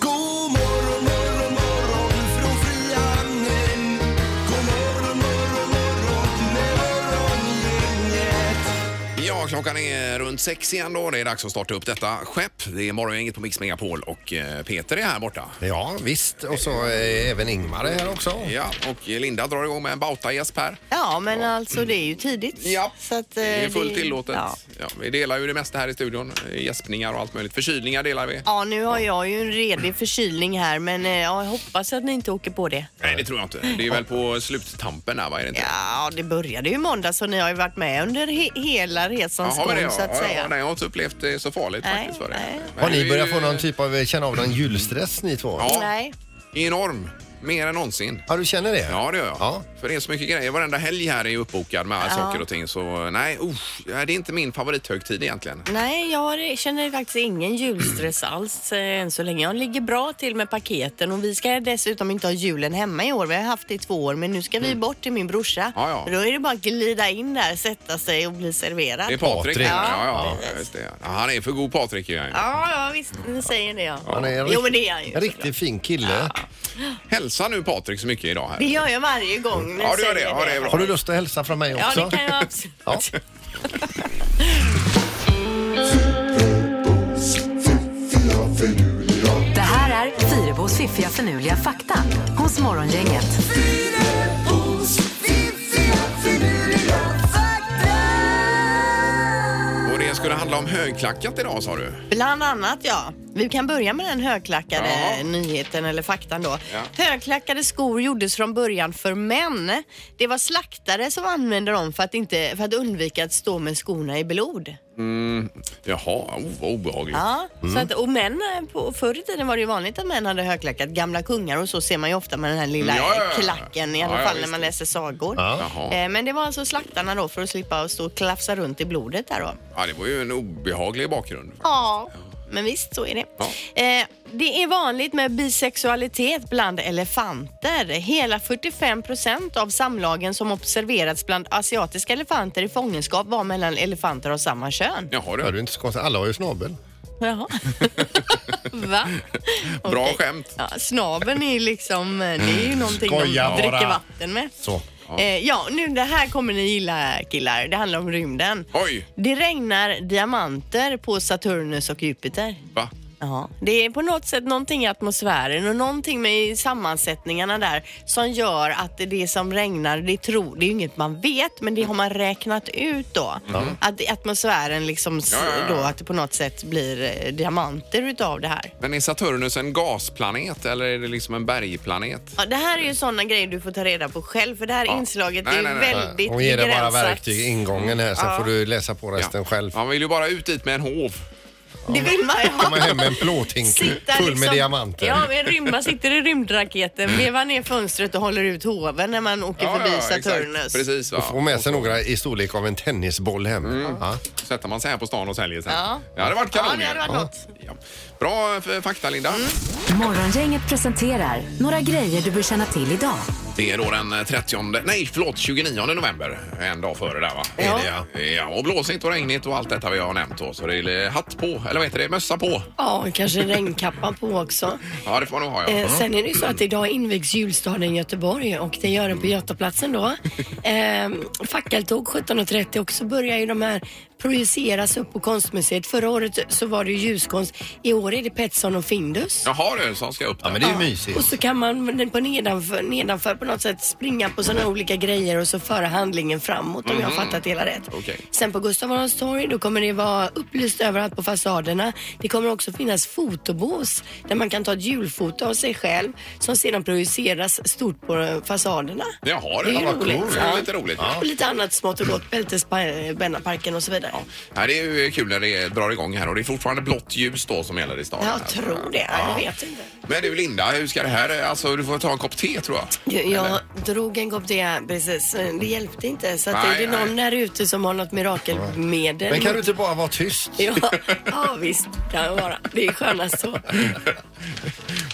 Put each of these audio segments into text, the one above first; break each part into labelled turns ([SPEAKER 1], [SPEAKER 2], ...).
[SPEAKER 1] God morgon morgon morgon från Frihamnen. God morgon morgon morgon med morgongänget.
[SPEAKER 2] Ja, klockan är runt sex igen då. Det är dags att starta upp detta skepp. Det är morgongänget på Mix Megapol och eh, Peter är här borta.
[SPEAKER 3] Ja, visst. Och så eh, även Ingmar är här också.
[SPEAKER 2] Ja, och Linda drar igång med en bauta-gäsp här.
[SPEAKER 4] Ja, men alltså det är ju tidigt.
[SPEAKER 2] Ja,
[SPEAKER 4] så att, eh,
[SPEAKER 2] det är fullt
[SPEAKER 4] det-
[SPEAKER 2] tillåtet. Ja.
[SPEAKER 4] Ja.
[SPEAKER 2] vi delar ju det mesta här i studion. Eh, Gäspningar och allt möjligt. Förkylningar delar vi.
[SPEAKER 4] ja, nu har jag ju en redig förkylning här, men eh, ja, jag hoppas att ni inte åker på det.
[SPEAKER 2] Nej, det tror jag inte. Det är väl på sluttampen där, va? Är det inte?
[SPEAKER 4] Ja, det började ju i måndag så ni har ju varit med under he- hela resans
[SPEAKER 2] Jaha, men
[SPEAKER 4] gång
[SPEAKER 2] det,
[SPEAKER 4] så att
[SPEAKER 2] ja,
[SPEAKER 4] säga.
[SPEAKER 2] Ja, nej, jag har inte upplevt det så farligt
[SPEAKER 4] Nej,
[SPEAKER 2] faktiskt. För det.
[SPEAKER 4] nej.
[SPEAKER 2] Men
[SPEAKER 3] Har
[SPEAKER 2] det är
[SPEAKER 3] ni
[SPEAKER 2] ju
[SPEAKER 3] börjat få någon typ av, känna av någon julstress ni två?
[SPEAKER 2] Ja.
[SPEAKER 4] Nej.
[SPEAKER 2] Enorm. Mer än någonsin.
[SPEAKER 3] Ja, du känner det?
[SPEAKER 2] Ja, det gör jag.
[SPEAKER 3] Ja.
[SPEAKER 2] För det är så mycket grejer. Varenda helg här är ju uppbokad med
[SPEAKER 4] Ja.
[SPEAKER 2] saker och ting. Så nej, usch, det är inte min favorithögtid egentligen.
[SPEAKER 4] Nej, jag har- eh, känner faktiskt ingen julstress alls eh, än så länge. Jag ligger bra till med paketen och vi ska dessutom inte ha julen hemma i år. Vi har haft det i två år, men nu ska vi bort till min brorsa.
[SPEAKER 2] Mm. Ja, ja.
[SPEAKER 4] Och Då är det bara att glida in där, sätta sig och bli serverad.
[SPEAKER 2] Det är Patrik.
[SPEAKER 3] Patrik.
[SPEAKER 2] Ja, ja, ja, just det. Ja, han är för god Patrik ju.
[SPEAKER 4] Ja, ja visst, ni säger det ja.
[SPEAKER 3] Han är en
[SPEAKER 4] jo
[SPEAKER 3] rikt-
[SPEAKER 4] men det är han
[SPEAKER 3] En
[SPEAKER 4] ju.
[SPEAKER 3] riktigt fin kille.
[SPEAKER 2] Hälsa nu Patrik så mycket idag
[SPEAKER 4] Det
[SPEAKER 2] här.
[SPEAKER 4] gör jag varje gång ni
[SPEAKER 2] Ja, du gör det.
[SPEAKER 4] säger
[SPEAKER 2] Ja, det är bra.
[SPEAKER 3] Har du lust att hälsa från mig också?
[SPEAKER 4] Ja, det kan jag absolut.
[SPEAKER 3] Ja.
[SPEAKER 5] Det här är Fyrabos fiffiga förnuliga fakta hos Morgongänget.
[SPEAKER 1] Fynebos fiffiga finurliga fakta.
[SPEAKER 2] Och det skulle handla om högklackat idag sa du?
[SPEAKER 4] Bland annat ja. Vi kan börja med den högklackade
[SPEAKER 2] Ja.
[SPEAKER 4] nyheten eller faktan då.
[SPEAKER 2] Ja.
[SPEAKER 4] Högklackade skor gjordes från början för män. Det var slaktare som använde dem för att, inte, för att undvika att stå med skorna i blod.
[SPEAKER 2] Mm, Jaha, oh, vad obehagligt.
[SPEAKER 4] Ja,
[SPEAKER 3] Mm.
[SPEAKER 4] så att, och män, eh, på, förr i tiden var det ju vanligt att män hade högklackat. Gamla kungar och så ser man ju ofta med den här lilla
[SPEAKER 2] Mm, Ja, ja, ja.
[SPEAKER 4] klacken, i
[SPEAKER 2] Ja,
[SPEAKER 4] alla
[SPEAKER 2] ja,
[SPEAKER 4] fall när
[SPEAKER 2] visst.
[SPEAKER 4] man läser sagor.
[SPEAKER 3] Ja.
[SPEAKER 2] Jaha.
[SPEAKER 4] Eh, Men det var alltså slaktarna då för att slippa att stå och klafsa runt i blodet där då.
[SPEAKER 2] Ja, det var ju en obehaglig bakgrund.
[SPEAKER 4] Ja, men visst så är det.
[SPEAKER 2] Ja.
[SPEAKER 4] Eh, det är vanligt med bisexualitet bland elefanter. Hela 45 procent av samlagen som observerats bland asiatiska elefanter i fångenskap var mellan elefanter av samma kön.
[SPEAKER 2] Jaha
[SPEAKER 3] Ja,
[SPEAKER 2] du.
[SPEAKER 3] du är inte så konstigt. Alla har ju snabel.
[SPEAKER 4] Jaha. Va?
[SPEAKER 2] Bra
[SPEAKER 4] Okej.
[SPEAKER 2] skämt.
[SPEAKER 4] Ja, snabeln är ju liksom, det är ju någonting
[SPEAKER 3] Skoja
[SPEAKER 4] de dricker
[SPEAKER 3] bara.
[SPEAKER 4] vatten med.
[SPEAKER 3] Så.
[SPEAKER 4] Eh, ja, nu det här kommer ni gilla killar. Det handlar om rymden.
[SPEAKER 2] Oj,
[SPEAKER 4] Det regnar diamanter på Saturnus och Jupiter.
[SPEAKER 2] va?
[SPEAKER 4] Ja, det är på något sätt någonting i atmosfären och någonting med sammansättningarna där som gör att det som regnar, det tror, det är ju inget man vet, men det har man räknat ut då. Att i atmosfären liksom, s-
[SPEAKER 2] Ja, ja, ja.
[SPEAKER 4] då att det på något sätt blir eh, diamanter utav det här.
[SPEAKER 2] Men är Saturnus en gasplanet eller är det liksom en bergplanet?
[SPEAKER 4] Ja, det här är ju sådana grejer du får ta reda på själv för det här
[SPEAKER 2] Ja.
[SPEAKER 4] inslaget
[SPEAKER 2] Nej,
[SPEAKER 4] är ju
[SPEAKER 2] nej, nej, nej.
[SPEAKER 4] väldigt
[SPEAKER 3] Hon ger dig bara
[SPEAKER 4] begränsat.
[SPEAKER 3] verktyg, ingången här, sen
[SPEAKER 4] Ja.
[SPEAKER 3] får du läsa på resten själv.
[SPEAKER 2] Man vill ju bara ut dit med en hov.
[SPEAKER 4] Det vill man ju ha.
[SPEAKER 3] Komma hem med en plåthink
[SPEAKER 4] Sitta
[SPEAKER 3] full med
[SPEAKER 4] liksom-
[SPEAKER 3] diamanter.
[SPEAKER 4] Ja, men rymd, man sitter i
[SPEAKER 2] Mm.
[SPEAKER 4] rymdraketen, vevar ner fönstret och håller ut hoven när man åker förbi
[SPEAKER 2] exakt.
[SPEAKER 4] Saturnus.
[SPEAKER 2] Precis,
[SPEAKER 3] Och få
[SPEAKER 2] va?
[SPEAKER 3] med sig några i storlek av en tennisboll hem.
[SPEAKER 2] Mm.
[SPEAKER 3] Ja.
[SPEAKER 2] Sätter man sig här på stan och säljer sen.
[SPEAKER 4] Ja.
[SPEAKER 2] Det hade varit
[SPEAKER 4] Ja,
[SPEAKER 2] kanon
[SPEAKER 4] det hade
[SPEAKER 2] ju.
[SPEAKER 4] varit något. Mm.
[SPEAKER 2] Ja. Bra eh, fakta, Linda.
[SPEAKER 5] Morgongänget presenterar några grejer du bör känna till idag.
[SPEAKER 2] Det är då den eh, 30, nej förlåt 29 november, en dag före där va?
[SPEAKER 4] Ja.
[SPEAKER 2] Är det, ja. ja och blåsigt och regnigt och allt detta vi har nämnt då. Så det är eh, hatt på, eller vad heter det, mössa på.
[SPEAKER 4] Ja, kanske en regnkappa på också.
[SPEAKER 2] Ja det får man nog ha ja.
[SPEAKER 4] Eh, sen är det ju så att idag invigs julstaden Göteborg och det gör den på Götaplatsen då. Eh, fackeltåg 17.30 och så börjar ju de här projiceras upp på konstmuseet. Förra året så var det ju ljuskonst. I år är det Petson och Findus.
[SPEAKER 2] Jaha du, som ska upp där.
[SPEAKER 3] ja, men det är ju
[SPEAKER 4] Och
[SPEAKER 2] Typ.
[SPEAKER 3] mysigt.
[SPEAKER 4] så kan man på nedanför, nedanför på något sätt springa på sådana olika grejer och så föra handlingen framåt om jag har fattat hela rätt.
[SPEAKER 2] Mhm. Okej.
[SPEAKER 4] Sen på Gustav Adolfs torg då kommer det vara upplyst överallt på fasaderna. Det kommer också finnas fotobås där man kan ta ett julfoto av sig själv som sedan projiceras stort på eh, fasaderna.
[SPEAKER 2] Jaha du,
[SPEAKER 4] Det är
[SPEAKER 2] vad
[SPEAKER 4] roligt.
[SPEAKER 2] coolt. Det är
[SPEAKER 4] Ja.
[SPEAKER 2] lite roligt.
[SPEAKER 4] Och lite annat smått och gott, Bältesbrännarparken och så vidare.
[SPEAKER 2] Ja. Ja, det är ju kul när det drar igång här och det är fortfarande blått ljus då som gäller i staden. här.
[SPEAKER 4] Jag tror det.
[SPEAKER 2] Ja.
[SPEAKER 4] Jag vet inte.
[SPEAKER 2] Men du Linda, hur ska det här... Alltså du får ta en kopp te tror jag.
[SPEAKER 4] Jag, jag
[SPEAKER 2] Eller?
[SPEAKER 4] drog en kopp te precis. men Det hjälpte inte. Så att
[SPEAKER 2] Nej,
[SPEAKER 4] är det någon där ute som har något mirakelmedel?
[SPEAKER 3] Men kan du inte bara vara tyst?
[SPEAKER 4] Ja, ja visst kan jag vara. Det är skönast så.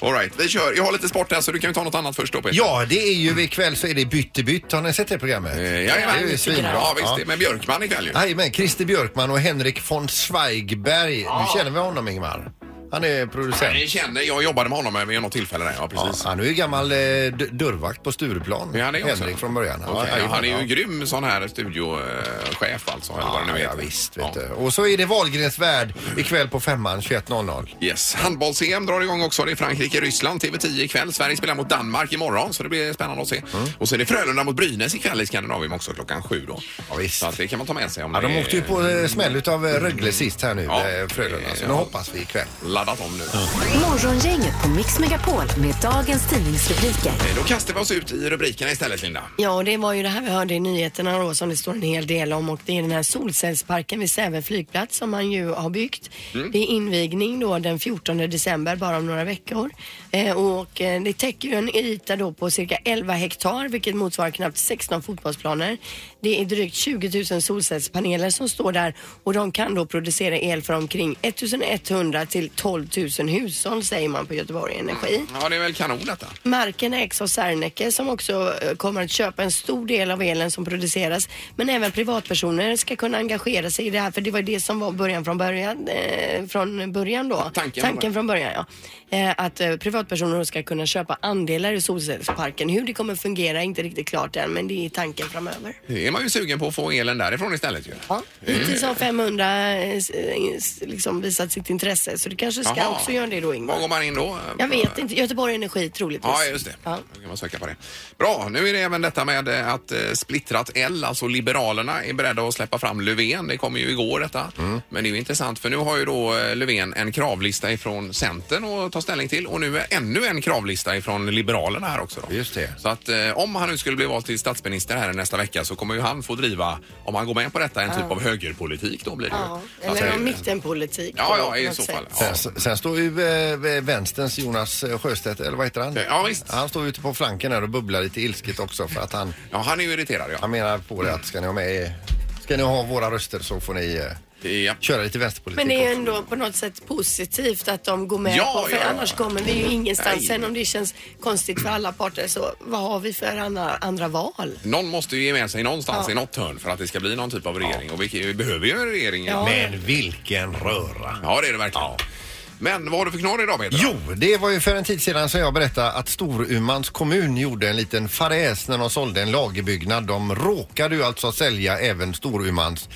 [SPEAKER 2] All right, vi kör. Jag har lite sport här så du kan ju ta något annat först då Peter.
[SPEAKER 3] Ja, det är ju ikväll så är det Byttebytt. Har ni sett det programmet?
[SPEAKER 2] Eh,
[SPEAKER 3] Det är ju svinbra.
[SPEAKER 2] Ja, visst. det.
[SPEAKER 3] Ja.
[SPEAKER 2] Men Björkman ikväll ju.
[SPEAKER 3] Jajamän, Christer Björkman och Henrik von Zweigberg. Du känner väl honom Ingmar? Han är producent.
[SPEAKER 2] Jag känner, jag jobbade med honom vid något tillfälle där. Ja,
[SPEAKER 3] Ja,
[SPEAKER 2] precis.
[SPEAKER 3] han är ju gammal eh, d- dörrvakt på Stureplan.
[SPEAKER 2] Ja, det är också.
[SPEAKER 3] Henrik från början. Ja,
[SPEAKER 2] Okej,
[SPEAKER 3] jajamän,
[SPEAKER 2] han är ju
[SPEAKER 3] ja.
[SPEAKER 2] grym sån här studiochef alltså. eller vad det
[SPEAKER 3] Ja,
[SPEAKER 2] nu
[SPEAKER 3] ja,
[SPEAKER 2] heter.
[SPEAKER 3] visst.
[SPEAKER 2] Ja.
[SPEAKER 3] Vet du. Och så är det Wahlgrens värld ikväll på femman 21.00.
[SPEAKER 2] Yes. Handbolls-EM drar igång också. Det är Frankrike-Ryssland TV10 ikväll. Sverige spelar mot Danmark imorgon så det blir spännande att se.
[SPEAKER 3] Mm.
[SPEAKER 2] Och så är det Frölunda mot Brynäs ikväll i Skandinavien också klockan sju då.
[SPEAKER 3] Ja, visst.
[SPEAKER 2] Så att det kan man ta med sig om
[SPEAKER 3] Ja,
[SPEAKER 2] det
[SPEAKER 3] de
[SPEAKER 2] är
[SPEAKER 3] åkte ju på eh, smäll utav eh, Rögle sist här nu,
[SPEAKER 2] Ja.
[SPEAKER 3] eh, Frölunda. Så nu
[SPEAKER 2] Ja.
[SPEAKER 3] hoppas vi ikväll.
[SPEAKER 2] laddat om nu.
[SPEAKER 6] Morgongänget på Mix Megapol med dagens tidningsrubriker.
[SPEAKER 2] Eh, Då kastar vi oss ut i rubrikerna istället Linda.
[SPEAKER 4] Ja, och det var ju det här vi hörde i nyheterna då som det står en hel del om och det är den här solcellsparken vid Säve flygplats som man ju har byggt. Det är invigning då den 14 december, bara om några veckor. Eh, och eh, det täcker ju en yta då på cirka 11 hektar vilket motsvarar knappt 16 fotbollsplaner. Det är drygt 20 000 solcellspaneler som står där och de kan då producera el för omkring 1100 till 12 000 hushåll säger man på Göteborg Energi.
[SPEAKER 2] Ja, det är väl kanon detta.
[SPEAKER 4] Marken ägs av Serneke som också eh, kommer att köpa en stor del av elen som produceras. Men även privatpersoner ska kunna engagera sig i det här för det var det som var början från början. Eh, från början då.
[SPEAKER 2] tanken.
[SPEAKER 4] från början ja. Eh, att eh, privatpersoner ska kunna köpa andelar i solcellsparken. Hur det kommer fungera är inte riktigt klart än men det är tanken framöver.
[SPEAKER 2] Det är man ju sugen på att få elen därifrån istället ju.
[SPEAKER 4] Ja. Hittills har 500 eh, s- eh, s- liksom visat sitt intresse så du kanske ska
[SPEAKER 2] Jaha.
[SPEAKER 4] också göra det då Ingmar.
[SPEAKER 2] Var går man in då?
[SPEAKER 4] Jag vet inte. Göteborg Energi troligtvis.
[SPEAKER 2] Ja, just det.
[SPEAKER 4] Ja.
[SPEAKER 2] Då kan man söka på det. Bra, nu är det även detta med eh, att eh, splittrat L, alltså Liberalerna, är beredda att släppa fram Löfven. Det kom ju igår detta.
[SPEAKER 3] Mm.
[SPEAKER 2] Men det är ju intressant för nu har ju då eh, Löfven en kravlista ifrån Centern att ta ställning till och nu är ännu en kravlista ifrån Liberalerna här också. Då.
[SPEAKER 3] Just det.
[SPEAKER 2] Så att eh, om han nu skulle bli vald till statsminister här nästa vecka så kommer ju han få driva, om han går med på detta, en typ av högerpolitik då blir det ju.
[SPEAKER 4] Ja,
[SPEAKER 2] Så att,
[SPEAKER 4] eller
[SPEAKER 2] eh,
[SPEAKER 4] en mittenpolitik.
[SPEAKER 2] Ja,
[SPEAKER 4] på
[SPEAKER 2] ja, i
[SPEAKER 4] något
[SPEAKER 2] så
[SPEAKER 4] sätt.
[SPEAKER 2] fall. Ja.
[SPEAKER 3] Sen, sen står ju eh, vänsterns Jonas eh, Sjöstedt, eller vad heter han?
[SPEAKER 2] Ja, visst.
[SPEAKER 3] Han står ute på flanken här och bubblar lite ilsket också för att han,
[SPEAKER 2] Ja, han är ju irriterad ja.
[SPEAKER 3] han menar på det att ska ni ha med er- ska ni ha våra röster så får ni eh,
[SPEAKER 2] ja.
[SPEAKER 3] köra lite vänsterpolitik
[SPEAKER 4] Men det är ju
[SPEAKER 3] också.
[SPEAKER 4] ändå på något sätt positivt att de går med
[SPEAKER 2] Ja,
[SPEAKER 4] på, för
[SPEAKER 2] ja, ja.
[SPEAKER 4] annars kommer vi ju ingenstans.
[SPEAKER 2] Nej.
[SPEAKER 4] Sen om det känns konstigt för alla parter så vad har vi för andra, andra val?
[SPEAKER 2] Någon måste ju ge med sig någonstans
[SPEAKER 4] Ja.
[SPEAKER 2] i något hörn för att det ska bli någon typ av regering. Och vi, vi behöver ju en regering.
[SPEAKER 4] Ja.
[SPEAKER 3] Men vilken röra!
[SPEAKER 2] Ja, det är det verkligen. Men vad har du för knorr idag Peter?
[SPEAKER 3] Jo, det var ju för en tid sedan som jag berättade att Storumans kommun gjorde en liten fadäs när de sålde en lagerbyggnad. De råkade ju alltså sälja även Storumans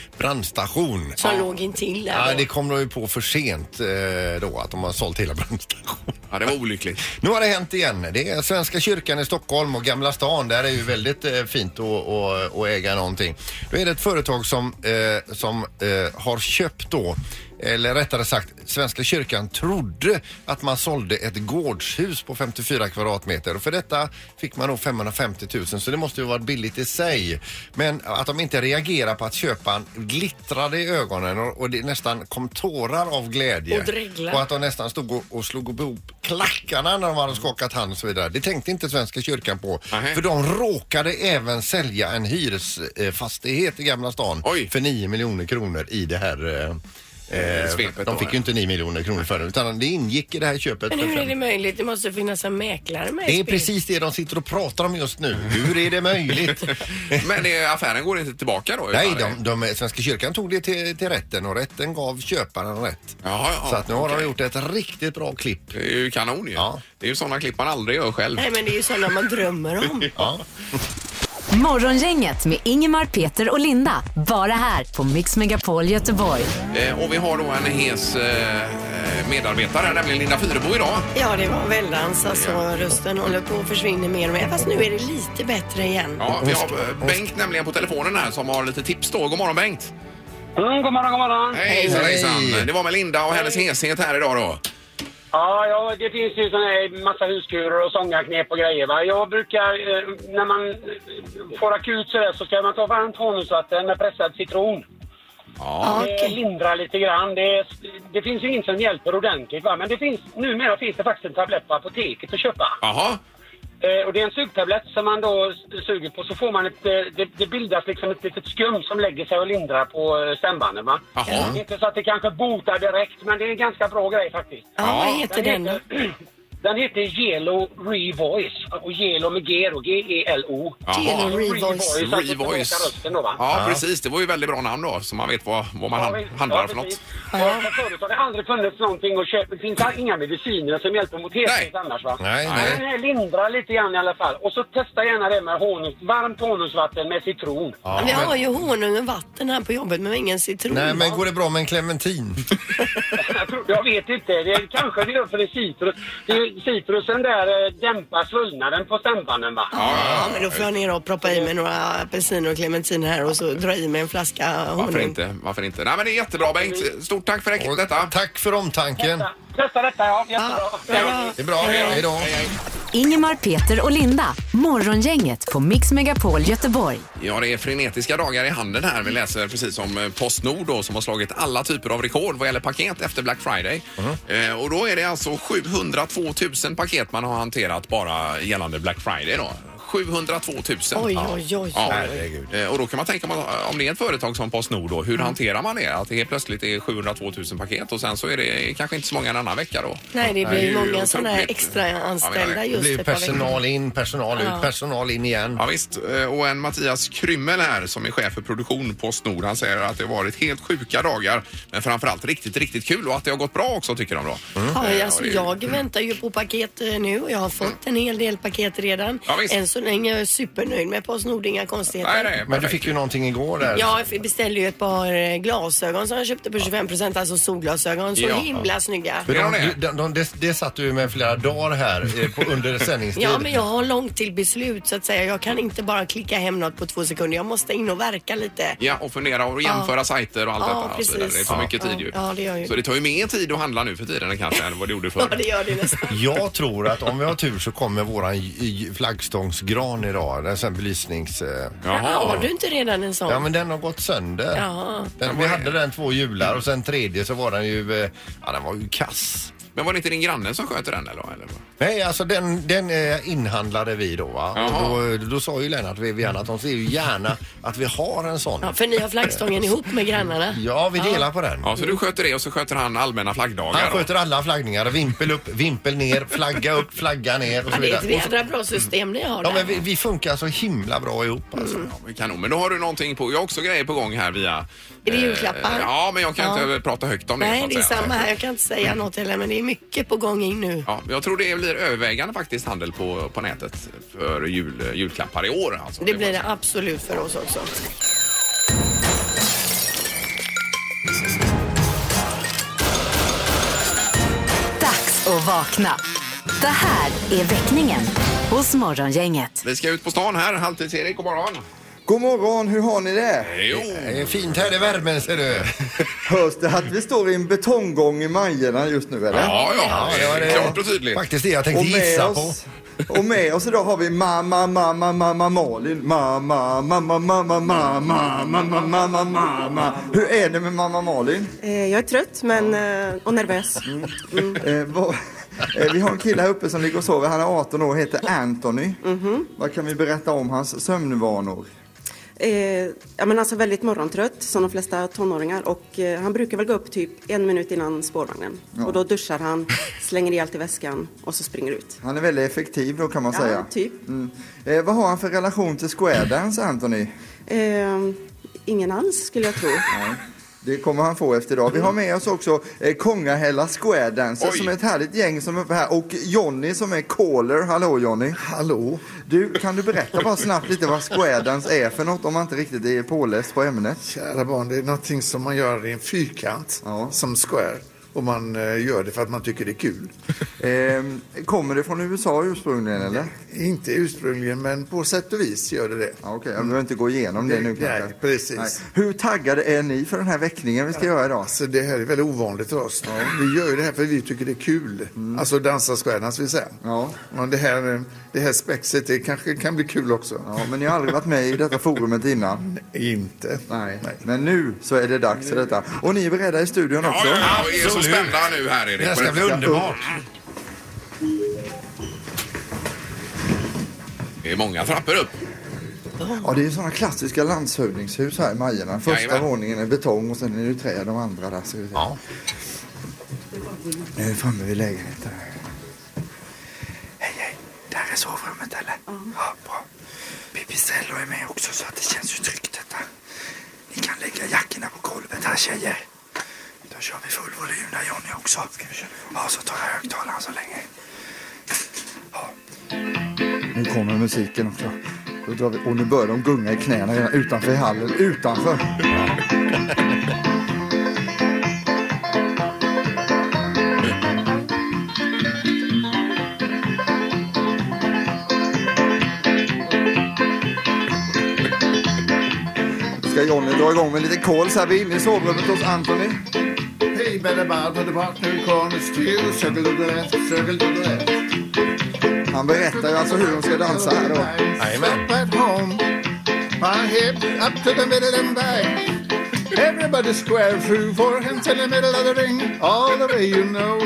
[SPEAKER 3] brandstation.
[SPEAKER 4] Som låg intill där
[SPEAKER 3] Ja,
[SPEAKER 4] då.
[SPEAKER 3] det kom de ju på för sent eh, då att de har sålt hela brandstationen.
[SPEAKER 2] Ja, det var olyckligt.
[SPEAKER 3] Nu har det hänt igen. Det är Svenska kyrkan i Stockholm och Gamla stan. Där är ju väldigt eh, fint att, att, att äga någonting. Då är det ett företag som, eh, som eh, har köpt då eller rättare sagt, Svenska kyrkan trodde att man sålde ett gårdshus på 54 kvadratmeter och för detta fick man då 550 000 så det måste ju varit billigt i sig. Men att de inte reagerar på att köparen glittrade i ögonen och, och det nästan kom tårar av glädje.
[SPEAKER 4] Och dreglar.
[SPEAKER 3] Och att de nästan stod och, och slog ihop klackarna när de hade skakat hand och så vidare. Det tänkte inte Svenska kyrkan på.
[SPEAKER 2] Nähä.
[SPEAKER 3] För de råkade även sälja en hyresfastighet i Gamla stan
[SPEAKER 2] Oj.
[SPEAKER 3] för 9 miljoner kronor i det här eh, Eh,
[SPEAKER 2] Svepet då,
[SPEAKER 3] de fick ju inte 9 miljoner kronor för det utan det ingick i det här köpet.
[SPEAKER 4] Men
[SPEAKER 3] för
[SPEAKER 4] hur är
[SPEAKER 3] fem-
[SPEAKER 4] det möjligt? Det måste finnas en mäklare med i
[SPEAKER 3] det är
[SPEAKER 4] spelet.
[SPEAKER 3] precis det de sitter och pratar om just nu. Hur är det möjligt?
[SPEAKER 2] Men eh, affären går inte tillbaka då?
[SPEAKER 3] Nej,
[SPEAKER 2] utan det-
[SPEAKER 3] de, de, Svenska kyrkan tog det till, till rätten och rätten gav köparen rätt.
[SPEAKER 2] Jaha, ja,
[SPEAKER 3] Så att nu har de
[SPEAKER 2] okej.
[SPEAKER 3] gjort ett riktigt bra klipp.
[SPEAKER 2] Det är ju kanon ju.
[SPEAKER 3] Ja.
[SPEAKER 2] Det är ju sådana klipp man aldrig gör själv.
[SPEAKER 4] Nej men det är ju sådana man drömmer om.
[SPEAKER 3] Ja.
[SPEAKER 6] Morgongänget med Ingemar, Peter och Linda. Bara här på Mix Megapol Göteborg.
[SPEAKER 2] Eh, och vi har då en hes eh, medarbetare, här, nämligen Linda Fyrebo idag.
[SPEAKER 4] Ja det var väldans alltså. Rösten håller på att försvinna mer och mer. Fast nu är det lite bättre igen.
[SPEAKER 2] Ja, vi har eh, Bengt nämligen på telefonen här som har lite tips då. God morgon Bengt!
[SPEAKER 7] Mm, god morgon, god morgon.
[SPEAKER 2] Hej,
[SPEAKER 3] Hej.
[SPEAKER 2] hejsan! Det var med Linda och hennes heshet här idag då.
[SPEAKER 7] Ja, ja, det finns ju sån här massa huskurer och sångarknep och grejer. Va? Jag brukar, eh, när man eh, får akut sådär så ska man ta varmt honungsvatten med pressad citron.
[SPEAKER 4] Ja,
[SPEAKER 7] Det
[SPEAKER 4] okej.
[SPEAKER 7] lindrar lite grann. Det, det finns ju inget som hjälper ordentligt. Va? Men det finns, numera finns det faktiskt en tablett på apoteket att köpa.
[SPEAKER 2] Jaha,
[SPEAKER 7] Eh, och det är en sugtablett som man då s- suger på. Så får man ett, eh, det, det bildas liksom ett litet skum som lägger sig och lindrar på eh, stämbanden. Va?
[SPEAKER 2] Jaha.
[SPEAKER 7] Det är Inte så att det kanske botar direkt, men det är en ganska bra grej faktiskt.
[SPEAKER 4] Ja, vad heter den då?
[SPEAKER 7] heter, den heter Gelo Revoice. Och Gelo med G E då, G-E-L-O.
[SPEAKER 2] jaha.
[SPEAKER 4] Gelo Revoice.
[SPEAKER 7] Revoice, alltså
[SPEAKER 2] Revoice.
[SPEAKER 7] tillbaka rösten då, va?
[SPEAKER 2] Ja, precis. Det var ju väldigt bra namn då, så man vet vad, vad man han- handlar för något.
[SPEAKER 7] precis. Ja, förut har det aldrig funnits någonting att köpa. Det finns inga mediciner som hjälper mot hethet
[SPEAKER 2] Nej.
[SPEAKER 7] annars va?
[SPEAKER 3] Nej,
[SPEAKER 7] Men
[SPEAKER 3] nej.
[SPEAKER 7] Den här lindrar lite grann i alla fall. Och så testa gärna det med honung, varmt honungsvatten med citron.
[SPEAKER 3] Ja,
[SPEAKER 4] Vi har
[SPEAKER 3] men,
[SPEAKER 4] ju honung och vatten här på jobbet men ingen citron.
[SPEAKER 3] nej, men
[SPEAKER 4] va?
[SPEAKER 3] går det bra med en clementin?
[SPEAKER 7] Jag, tror, jag vet inte, det är, kanske det gör för det är citrus. Det är, citrusen där eh, dämpar svullnaden på stämbanden va?
[SPEAKER 4] Ja, men då får jag ner och proppa i mig några apelsiner och clementiner här och så dra i mig en flaska
[SPEAKER 2] Varför
[SPEAKER 4] honung.
[SPEAKER 2] inte? Varför inte? Nej, men det är jättebra Bengt. Stort tack för
[SPEAKER 3] Och
[SPEAKER 2] detta.
[SPEAKER 3] Tack för omtanken.
[SPEAKER 7] Testa, testa detta ja, jättebra.
[SPEAKER 3] Det är bra. Hej då.
[SPEAKER 6] Ingemar, Peter och Linda. Morgongänget på Mix Megapol Göteborg.
[SPEAKER 2] Ja, det är frenetiska dagar i handeln här. Vi läser precis om eh, Postnord då, som har slagit alla typer av rekord vad gäller paket efter Black Friday. Eh, och då är det alltså 702 000 paket man har hanterat bara gällande Black Friday då. 702 000.
[SPEAKER 4] Oj, oj, oj.
[SPEAKER 2] Ja.
[SPEAKER 3] Herregud.
[SPEAKER 2] Eh, Och då kan man tänka om- om det är ett företag som Postnord då,
[SPEAKER 4] Mm.
[SPEAKER 2] hur hanterar man det? Att det helt plötsligt är 702 000 paket och sen så är det kanske inte så många en annan vecka då.
[SPEAKER 4] Nej, det
[SPEAKER 2] Det är
[SPEAKER 4] blir
[SPEAKER 2] ju
[SPEAKER 4] många sådana här
[SPEAKER 2] otroligt.
[SPEAKER 4] extra
[SPEAKER 2] Ja, men,
[SPEAKER 4] anställda
[SPEAKER 2] nej.
[SPEAKER 3] Det
[SPEAKER 4] just
[SPEAKER 3] blir
[SPEAKER 4] ett par veckor.
[SPEAKER 3] personal in, personal ut, personal in igen.
[SPEAKER 2] Ja, visst. Eh, Och en Mattias Krymmel här som är chef för produktion på Snor. Han säger att det har varit helt sjuka dagar men framförallt riktigt, riktigt kul och att det har gått bra också tycker de då. Eh,
[SPEAKER 4] Ja, alltså,
[SPEAKER 2] det är-
[SPEAKER 4] jag väntar ju på paket eh, nu och jag har fått en hel del paket redan.
[SPEAKER 2] Ja, visst.
[SPEAKER 4] Än så länge är jag supernöjd med Postnord, inga konstigheter.
[SPEAKER 2] Nej, nej,
[SPEAKER 3] Men du fick ju någonting igår där.
[SPEAKER 4] Ja, jag beställde ju ett par eh, glasögon som jag köpte på 25%, alltså solglasögon. Så
[SPEAKER 2] Ja.
[SPEAKER 4] himla snygga.
[SPEAKER 3] För
[SPEAKER 2] Ja,
[SPEAKER 3] de,
[SPEAKER 2] det är.
[SPEAKER 3] de, de, det- det satt du med flera dagar här eh, på, under sändningstid.
[SPEAKER 4] Ja, men jag har långt till beslut så att säga. Jag kan inte bara klicka hem något på två sekunder. Jag måste in och verka lite.
[SPEAKER 2] Ja, och fundera och jämföra sajter och allt
[SPEAKER 4] Ja,
[SPEAKER 2] detta. och så vidare. Det
[SPEAKER 4] precis.
[SPEAKER 2] tar
[SPEAKER 4] Ja.
[SPEAKER 2] mycket tid
[SPEAKER 4] Ja,
[SPEAKER 2] ju.
[SPEAKER 4] ja, det gör ju.
[SPEAKER 2] Så det tar ju mer tid att handla nu för tiden kanske än vad det gjorde
[SPEAKER 4] Ja,
[SPEAKER 2] förr.
[SPEAKER 4] det gör det nästan.
[SPEAKER 3] Jag tror att om vi har tur så kommer våran j- j- flaggstångsgran idag. Den sen belysnings... eh,
[SPEAKER 4] Ja,
[SPEAKER 2] Jaha.
[SPEAKER 4] har du inte redan en sån?
[SPEAKER 3] Ja men den har gått sönder.
[SPEAKER 4] Jaha.
[SPEAKER 3] Den, vi hade den två jular och sen tredje så var den ju... eh, Ja den var ju kass.
[SPEAKER 2] Men var det inte din granne som sköter den eller? eller?
[SPEAKER 3] Nej alltså den, den eh, inhandlade vi då va.
[SPEAKER 2] Jaha.
[SPEAKER 3] Och då, då sa ju Lennart Vivian att de ser ju gärna att vi har en sån.
[SPEAKER 4] Ja, för ni har flaggstången ihop med grannarna.
[SPEAKER 3] Ja vi delar på den.
[SPEAKER 2] Ja, så du sköter det och så sköter han allmänna flaggdagar.
[SPEAKER 3] Han
[SPEAKER 2] då?
[SPEAKER 3] sköter alla flaggningar. Vimpel upp, vimpel ner, flagga upp, flagga ner och
[SPEAKER 4] Ja,
[SPEAKER 3] så
[SPEAKER 4] det är ett
[SPEAKER 3] vidare. Mm.
[SPEAKER 4] jädra bra system ni har
[SPEAKER 3] Ja,
[SPEAKER 4] där.
[SPEAKER 3] men vi, vi funkar så himla bra ihop alltså.
[SPEAKER 2] Ja, men kanon. Men då har du någonting på. Jag har också grejer på gång här via...
[SPEAKER 4] Är det julklappar?
[SPEAKER 2] Eh, Ja, men jag kan inte prata högt om det. så
[SPEAKER 4] Nej,
[SPEAKER 3] Mm.
[SPEAKER 2] att
[SPEAKER 4] det är
[SPEAKER 2] säga.
[SPEAKER 4] samma här. Jag kan inte säga något heller, men det är mycket på gång in nu.
[SPEAKER 2] Ja, jag tror det blir övervägande faktiskt handel på, på nätet för jul, julklappar i år. Alltså.
[SPEAKER 4] Det blir det absolut för oss också.
[SPEAKER 6] Dags att vakna. Det här är väckningen hos Morgongänget.
[SPEAKER 2] Vi ska ut på stan här. Halvtids-Erik, god morgon.
[SPEAKER 8] God morgon, hur har ni det?
[SPEAKER 2] Jo,
[SPEAKER 3] Det är Eh, fint här i värmen ser du.
[SPEAKER 8] Hörs det att vi står i en betonggång i Majerna just nu eller?
[SPEAKER 2] ja, ja, det
[SPEAKER 3] var
[SPEAKER 2] är
[SPEAKER 3] det-
[SPEAKER 2] klart och tydligt.
[SPEAKER 3] Faktiskt det jag tänkte
[SPEAKER 8] Och med,
[SPEAKER 3] gissa på.
[SPEAKER 8] oss, och med oss idag har vi mamma, mamma, mamma Malin. Mamma, mamma, mamma, mamma, mamma, mamma, mamma. Hur är det med mamma Malin?
[SPEAKER 9] Eh, Jag är trött men, eh, och nervös.
[SPEAKER 8] Eh, vad, eh, vi har en kille här uppe som ligger och sover. Han är 18 år och heter Anthony. Vad kan vi berätta om hans sömnvanor?
[SPEAKER 9] Eh, Ja, men alltså väldigt morgontrött som de flesta tonåringar och eh, han brukar väl gå upp typ en minut innan spårvagnen. Och då duschar han, slänger i allt i väskan och så springer ut.
[SPEAKER 8] Han är väldigt effektiv då kan man
[SPEAKER 9] Ja,
[SPEAKER 8] säga.
[SPEAKER 9] typ.
[SPEAKER 8] Mm. Eh, vad har han för relation till square dance, Anthony?
[SPEAKER 9] Eh, Ingen alls skulle jag tro.
[SPEAKER 8] Det kommer han få efter idag. Vi har med oss också eh, Kongahälla Square Dancer
[SPEAKER 2] Oj.
[SPEAKER 8] som är ett härligt gäng som är uppe här och Jonny som är caller. Hallå Jonny! Hallå! Du, kan du berätta bara snabbt lite vad Square Dance är för något om man inte riktigt är påläst på ämnet?
[SPEAKER 10] Kära barn, det är någonting som man gör i en fyrkant
[SPEAKER 8] Ja.
[SPEAKER 10] som square. Och man eh, gör det för att man tycker det är kul.
[SPEAKER 8] Ehm, kommer det från USA ursprungligen eller?
[SPEAKER 10] Inte ursprungligen, men på sätt och vis gör det det.
[SPEAKER 8] Ja, Okej, jag behöver inte gå igenom det nu
[SPEAKER 10] Nej,
[SPEAKER 8] kanske.
[SPEAKER 10] nej, precis.
[SPEAKER 8] Hur taggade är ni för den här väckningen vi ska göra idag?
[SPEAKER 10] Alltså det här är väldigt ovanligt för oss. Vi gör ju det här för vi tycker det är kul. Alltså dansa stjärnan ska vi säga.
[SPEAKER 8] Mm. Ja.
[SPEAKER 10] Men det här, eh, det här spexet det kanske kan bli kul också.
[SPEAKER 8] Ja, men ni har aldrig varit med i detta forumet innan?
[SPEAKER 10] Inte.
[SPEAKER 8] Nej. Men nu så är det dags för detta. Och ni är beredda i studion
[SPEAKER 2] Ja,
[SPEAKER 8] också?
[SPEAKER 2] ja, ja, vi är så
[SPEAKER 3] Absolut.
[SPEAKER 2] spända nu här
[SPEAKER 3] Det här
[SPEAKER 2] Erik.
[SPEAKER 3] ska bli underbart.
[SPEAKER 2] Det är många trappor upp.
[SPEAKER 8] Ja, det är ju sådana klassiska landshövdingshus här i Majerna. Första
[SPEAKER 2] Jajamän.
[SPEAKER 8] våningen är betong och sen är det trä de andra där. Ska vi se.
[SPEAKER 3] Ja.
[SPEAKER 8] Nu är vi framme vid lägenheten. Hej, hej. Där är sovrummet eller? Ja, bra. Pipistrello är med också så att det känns ju tryggt detta. Ni kan lägga jackorna på golvet här tjejer. Då kör vi full volym där Johnny också. Ska vi köra? Ja, så tar jag högtalaren så länge. Nu kommer musiken också. Då drar vi. Och nu börjar de gunga i knäna redan utanför i hallen. Utanför! Ska Johnny dra igång med lite kol så här. Vi är inne i sovrummet hos Anthony.
[SPEAKER 10] Hej Bellebard, det var nu konst till sögel och drätt, sögel och drätt.
[SPEAKER 8] Han berättar ju alltså hur de ska dansa här då.
[SPEAKER 3] Jajamän.
[SPEAKER 10] Up at home, my head up to the middle and back. Everybody square through forehands in the middle of the ring, all the way you know.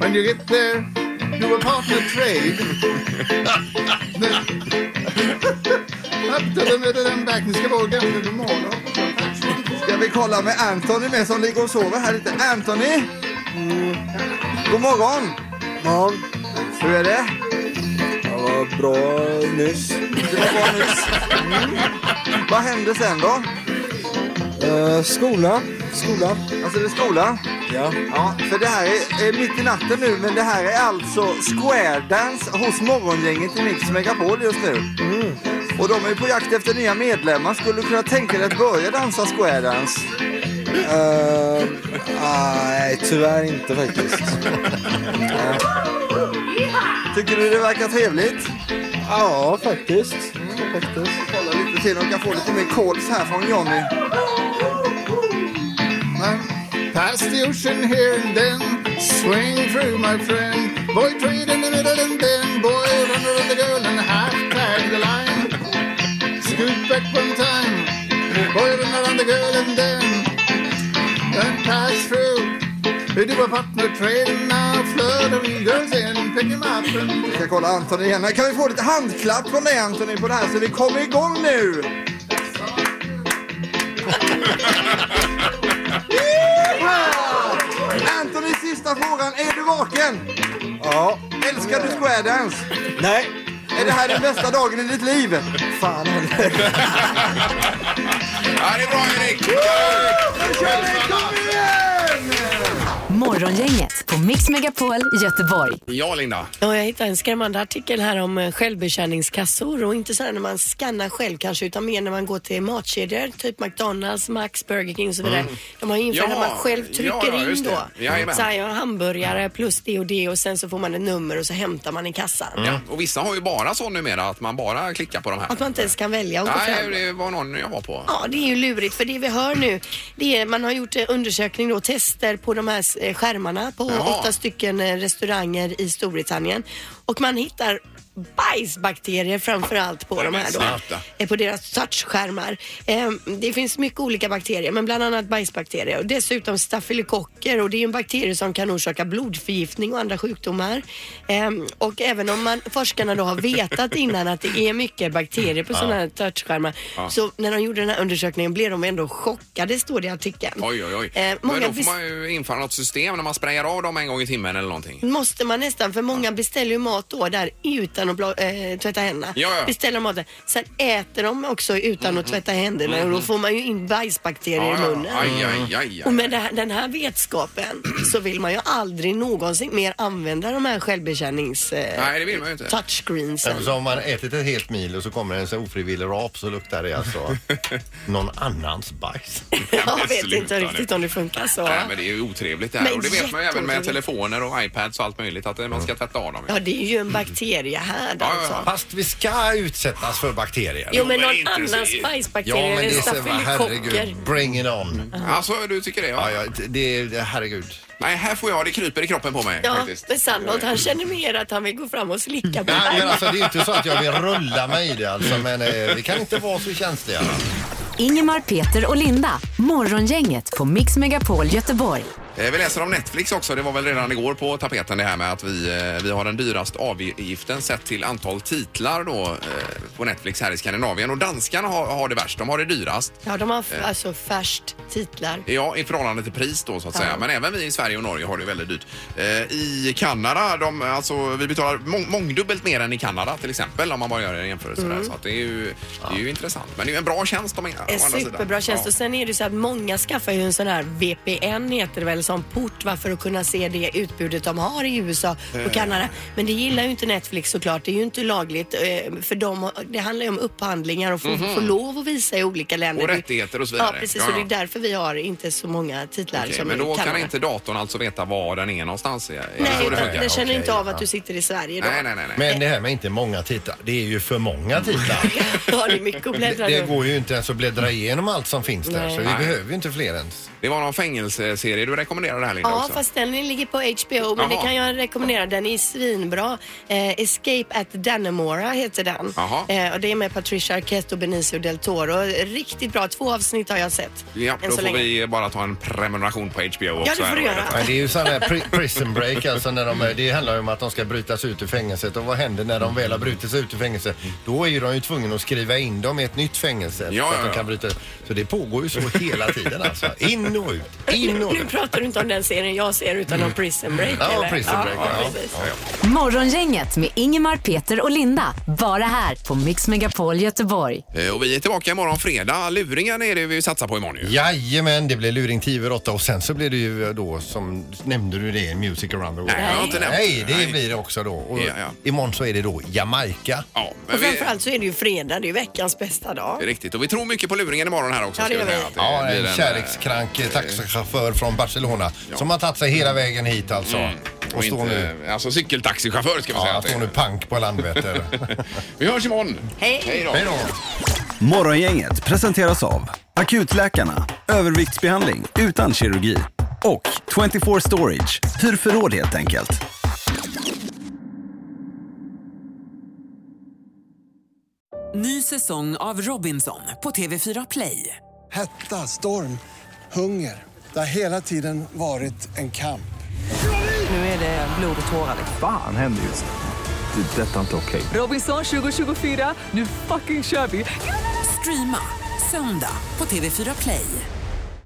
[SPEAKER 10] When you get there, do a partner trade. up to the middle and back, ni ska våga nu på morgonen.
[SPEAKER 8] Ska vi kolla med Anthony med som ligger och sover här lite. Anthony! God morgon! Morgon. Hur är det? Det var bra nyss. Det var bra nyss. Mm. Vad hände sen då? Eh, skola. Skola. Alltså det är skola? Ja. ja. För det här är, är mitt i natten nu men det här är alltså square dance hos morgongänget i Mix Megapol just nu. Och de är ju på jakt efter nya medlemmar. Skulle du kunna tänka dig att börja dansa square dance? Eh, nej, tyvärr inte faktiskt. Tycker du det verkar trevligt? Ja, faktiskt. faktiskt. Kolla lite till om vi kan få lite mer calls här från Johnny.
[SPEAKER 10] Past the ocean here and then, swing through my friend. Boy trade in the middle and then, boy run around the girl and half tag the line. Scoot back one time, boy run around the girl and then, and pass through. We do a partner trade and now fluttering girls in, pick him up and
[SPEAKER 8] Vi ska kolla Anthony igen. Men Kan vi få lite handklapp från dig Anthony på det här så vi kommer igång nu? Yeehaw! Anthony, sista frågan. Är du vaken? Ja. Älskar du square dance? Nej. Är det här den bästa dagen i ditt liv? Fan heller.
[SPEAKER 2] Ja, det är bra Erik!
[SPEAKER 8] Nu kör vi! Kom igen!
[SPEAKER 6] Morgongänget på Mix Megapol Göteborg.
[SPEAKER 2] Ja, Linda.
[SPEAKER 4] Ja, jag hittade en skrämmande artikel här om eh, självbetjäningskassor och inte så här när man skannar själv kanske utan mer när man går till matkedjor, typ McDonalds, Max, Burger King och så vidare. De har ju infört
[SPEAKER 2] Mm. Ja,
[SPEAKER 4] att man själv trycker
[SPEAKER 2] ja, ja, just
[SPEAKER 4] in
[SPEAKER 2] det.
[SPEAKER 4] då.
[SPEAKER 2] Jajamän.
[SPEAKER 4] Så här, jag har hamburgare plus det och det och sen så får man ett nummer och så hämtar man i kassan.
[SPEAKER 2] Ja, och vissa har ju bara så numera att man bara klickar på de här.
[SPEAKER 4] Att man inte ens kan välja att gå
[SPEAKER 2] Nej,
[SPEAKER 4] fram.
[SPEAKER 2] det var någon jag var på.
[SPEAKER 4] Ja, det är ju lurigt för det vi hör nu, det är, man har gjort eh, undersökning då, tester på de här eh, skärmarna på
[SPEAKER 2] Jaha.
[SPEAKER 4] åtta stycken eh, restauranger i Storbritannien och man hittar bajsbakterier framförallt på
[SPEAKER 2] Ja,
[SPEAKER 4] de
[SPEAKER 2] men
[SPEAKER 4] här då,
[SPEAKER 2] sluta.
[SPEAKER 4] eh, på deras touchskärmar. Eh, Det finns mycket olika bakterier, men bland annat bajsbakterier och dessutom stafylokocker och det är ju en bakterie som kan orsaka blodförgiftning och andra sjukdomar. Eh, Och även om man, forskarna då har vetat innan att det är mycket bakterier på sådana här touchskärmar, så när de gjorde den här undersökningen blev de ändå chockade, står det i artikeln.
[SPEAKER 2] Oj, oj, oj.
[SPEAKER 4] Eh,
[SPEAKER 2] Men
[SPEAKER 4] många
[SPEAKER 2] då får
[SPEAKER 4] bes-
[SPEAKER 2] man ju införa något system när man sprayar av dem en gång i timmen eller någonting.
[SPEAKER 4] Måste man nästan, för många beställer ju mat då där utan utan att bla- eh, tvätta händerna.
[SPEAKER 2] Ja, ja.
[SPEAKER 4] Beställer maten. Sen äter de också utan att tvätta händerna och då får man ju in bajsbakterier i
[SPEAKER 2] Mm-hmm. Ja,
[SPEAKER 4] munnen.
[SPEAKER 2] ja, aj, aj, aj,
[SPEAKER 4] Och
[SPEAKER 2] aj.
[SPEAKER 4] med det här, den här vetskapen så vill man ju aldrig någonsin mer använda de här självbetjänings... Eh,
[SPEAKER 2] Nej, det vill man ju inte.
[SPEAKER 4] touchscreensen.
[SPEAKER 2] Mm.
[SPEAKER 3] Så om man ätit ett helt mil och så kommer en sån ofrivillig rap så luktar det alltså någon annans bajs.
[SPEAKER 4] Jag vet
[SPEAKER 2] sluta
[SPEAKER 4] inte
[SPEAKER 2] nu.
[SPEAKER 4] riktigt om det funkar så.
[SPEAKER 2] Nej, men det är ju otrevligt det här.
[SPEAKER 4] Men
[SPEAKER 2] och det vet man ju även med
[SPEAKER 4] jätteotrevligt.
[SPEAKER 2] telefoner och iPads och allt möjligt att eh, man ska tvätta av dem.
[SPEAKER 4] Ja, det är ju en bakterie här
[SPEAKER 2] Mm. ja,
[SPEAKER 4] alltså.
[SPEAKER 2] ja.
[SPEAKER 3] Fast vi ska utsättas för bakterier.
[SPEAKER 4] Jo, men
[SPEAKER 2] men
[SPEAKER 4] någon
[SPEAKER 2] inte
[SPEAKER 4] annans
[SPEAKER 2] så-
[SPEAKER 4] bajsbakterie eller stafylokocker.
[SPEAKER 3] bring it on.
[SPEAKER 8] Mm.
[SPEAKER 2] Alltså, du tycker det?
[SPEAKER 3] Ja,
[SPEAKER 2] Ja.
[SPEAKER 3] ja, det- det, det, herregud.
[SPEAKER 2] Nej, här får jag, det kryper i kroppen på mig
[SPEAKER 4] Ja,
[SPEAKER 2] faktiskt.
[SPEAKER 4] men Sandholt han känner mer att han vill gå fram och slicka på
[SPEAKER 3] Nej, men
[SPEAKER 4] armen.
[SPEAKER 3] alltså det är inte så att jag vill rulla mig i det alltså, men eh, vi kan inte vara så känsliga.
[SPEAKER 6] Ingemar, Peter och Linda. Morgongänget på Mix Megapol Göteborg.
[SPEAKER 2] Eh, Vi läser om Netflix också. Det var väl redan igår på tapeten det här med att vi, eh, vi har den dyraste avgiften sett till antal titlar då eh, på Netflix här i Skandinavien. Och danskarna har, har det värst. De har det dyrast.
[SPEAKER 4] Ja, de har
[SPEAKER 2] Eh.
[SPEAKER 4] f- alltså färskt titlar.
[SPEAKER 2] Ja, i förhållande till pris då så att säga. Men även vi i Sverige och Norge har det väldigt dyrt. Eh, I Kanada, de, alltså, vi betalar mång, mångdubbelt mer än i Kanada till exempel om man bara gör en jämförelse där. Så att det, är ju, det är ju intressant. Men det är ju en bra tjänst de är, å andra
[SPEAKER 4] Mm. En
[SPEAKER 2] sidan.
[SPEAKER 4] superbra tjänst. Och sen är det så att många skaffar ju en sån här VPN heter det väl som port va, för att kunna se det utbudet de har i USA
[SPEAKER 2] Eh.
[SPEAKER 4] och Kanada. Men det gillar ju inte Netflix såklart. Det är ju inte lagligt eh, för dem. Det handlar ju om upphandlingar och få, få lov att visa i olika länder.
[SPEAKER 2] Mhm. Och rättigheter och så vidare.
[SPEAKER 4] Ja, precis.
[SPEAKER 2] Ja,
[SPEAKER 4] Och
[SPEAKER 2] ja.
[SPEAKER 4] det är därför vi har inte så många titlar
[SPEAKER 2] Okej,
[SPEAKER 4] som
[SPEAKER 2] men
[SPEAKER 4] i
[SPEAKER 2] då kan
[SPEAKER 4] Kanada.
[SPEAKER 2] inte datorn alltså veta var den är någonstans? Är är det
[SPEAKER 4] Nej,
[SPEAKER 2] så det
[SPEAKER 4] utan
[SPEAKER 2] funkar?
[SPEAKER 4] den känner
[SPEAKER 3] Okej,
[SPEAKER 4] inte av
[SPEAKER 3] ja.
[SPEAKER 4] att du sitter i Sverige då.
[SPEAKER 2] Nej, nej, nej. nej.
[SPEAKER 3] Men det här med inte många titlar, det är ju för många titlar.
[SPEAKER 4] Ja, det är mycket att
[SPEAKER 3] Det,
[SPEAKER 4] bläddra
[SPEAKER 3] det
[SPEAKER 4] runt.
[SPEAKER 3] går ju inte ens att bläddra igenom allt som finns där,
[SPEAKER 4] Nej.
[SPEAKER 3] så vi
[SPEAKER 2] Nej.
[SPEAKER 3] behöver ju inte fler ens.
[SPEAKER 2] Det var någon fängelseserie du rekommenderade här Linda
[SPEAKER 4] Ja,
[SPEAKER 2] också.
[SPEAKER 4] fast den ligger på HBO, men
[SPEAKER 2] Jaha.
[SPEAKER 4] det kan jag rekommendera. Den är svinbra. Eh, Escape at Dannemora heter den.
[SPEAKER 2] Jaha.
[SPEAKER 4] Eh, och det är med Patricia Arquette och Benicio del Toro. Riktigt bra. Två avsnitt har jag sett.
[SPEAKER 2] Ja,
[SPEAKER 4] än
[SPEAKER 2] då
[SPEAKER 4] så
[SPEAKER 2] får
[SPEAKER 4] länge.
[SPEAKER 2] vi bara ta en prenumeration på HBO också.
[SPEAKER 4] det får
[SPEAKER 2] här
[SPEAKER 4] du
[SPEAKER 2] då.
[SPEAKER 4] göra.
[SPEAKER 3] Men det är ju sån där pri- prison break alltså när de, det handlar ju om att de ska brytas ut ur fängelset och vad händer när de väl har brutit sig ut ur fängelset? Då är ju de ju tvungna att skriva in dem i ett nytt fängelse
[SPEAKER 2] Ja,
[SPEAKER 3] så att
[SPEAKER 2] ja, ja.
[SPEAKER 3] de kan bryta Så det pågår ju så hela tiden alltså. In och ut, in och
[SPEAKER 4] Nu
[SPEAKER 3] ut.
[SPEAKER 4] pratar du inte om den serien jag ser utan
[SPEAKER 2] Mm.
[SPEAKER 4] om Prison Break.
[SPEAKER 3] Ja,
[SPEAKER 4] eller?
[SPEAKER 3] Prison Break, ja.
[SPEAKER 4] precis.
[SPEAKER 6] Morgongänget med Ingemar, Peter och Linda. Bara här på Mix Megapol Göteborg.
[SPEAKER 2] Eh, Och vi är tillbaka imorgon fredag. Luringen är det vi satsar på imorgon ju.
[SPEAKER 3] Jajamän, det blir luring 10 över 8 och sen så blir det ju eh, då som, nämnde du det, Music around the world?
[SPEAKER 2] Nej, jag har inte nämnt.
[SPEAKER 3] Nej, det
[SPEAKER 2] Nej.
[SPEAKER 3] blir det också då. Och
[SPEAKER 2] Ja, ja.
[SPEAKER 3] imorgon så är det då Jamaica.
[SPEAKER 2] Ja, men
[SPEAKER 4] Och
[SPEAKER 2] vi...
[SPEAKER 4] framförallt så är det ju fredag. Det är ju veckans bästa dag.
[SPEAKER 2] Riktigt, och vi tror mycket på luringen imorgon här också.
[SPEAKER 4] Ja, det
[SPEAKER 2] ska jag
[SPEAKER 4] gör
[SPEAKER 2] säga.
[SPEAKER 4] vi.
[SPEAKER 2] Att
[SPEAKER 3] Ja,
[SPEAKER 2] det eh, blir
[SPEAKER 3] en kärlekskrank taxichaufför från Barcelona som har tagit sig hela vägen hit alltså.
[SPEAKER 2] eh,
[SPEAKER 3] Och står nu,
[SPEAKER 2] Alltså cykeltaxichaufför ska man
[SPEAKER 3] ja,
[SPEAKER 2] säga.
[SPEAKER 3] han
[SPEAKER 2] att det
[SPEAKER 3] står nu
[SPEAKER 2] är.
[SPEAKER 3] pank på Landvetter.
[SPEAKER 2] Vi hörs imorgon.
[SPEAKER 4] Hej.
[SPEAKER 3] Hej då!
[SPEAKER 1] Morgongänget presenteras av Akutläkarna, överviktsbehandling utan kirurgi och 24 Storage, hur förråd helt enkelt.
[SPEAKER 11] Ny säsong av Robinson på TV4 Play.
[SPEAKER 12] Hetta, storm, hunger. Det har hela tiden varit en kamp.
[SPEAKER 11] Nu är det blod och tårar.
[SPEAKER 1] Fan händer just nu. det. är Detta är inte okej.
[SPEAKER 11] Robinson 2024, nu fucking kör vi! Streama söndag på TV4 Play.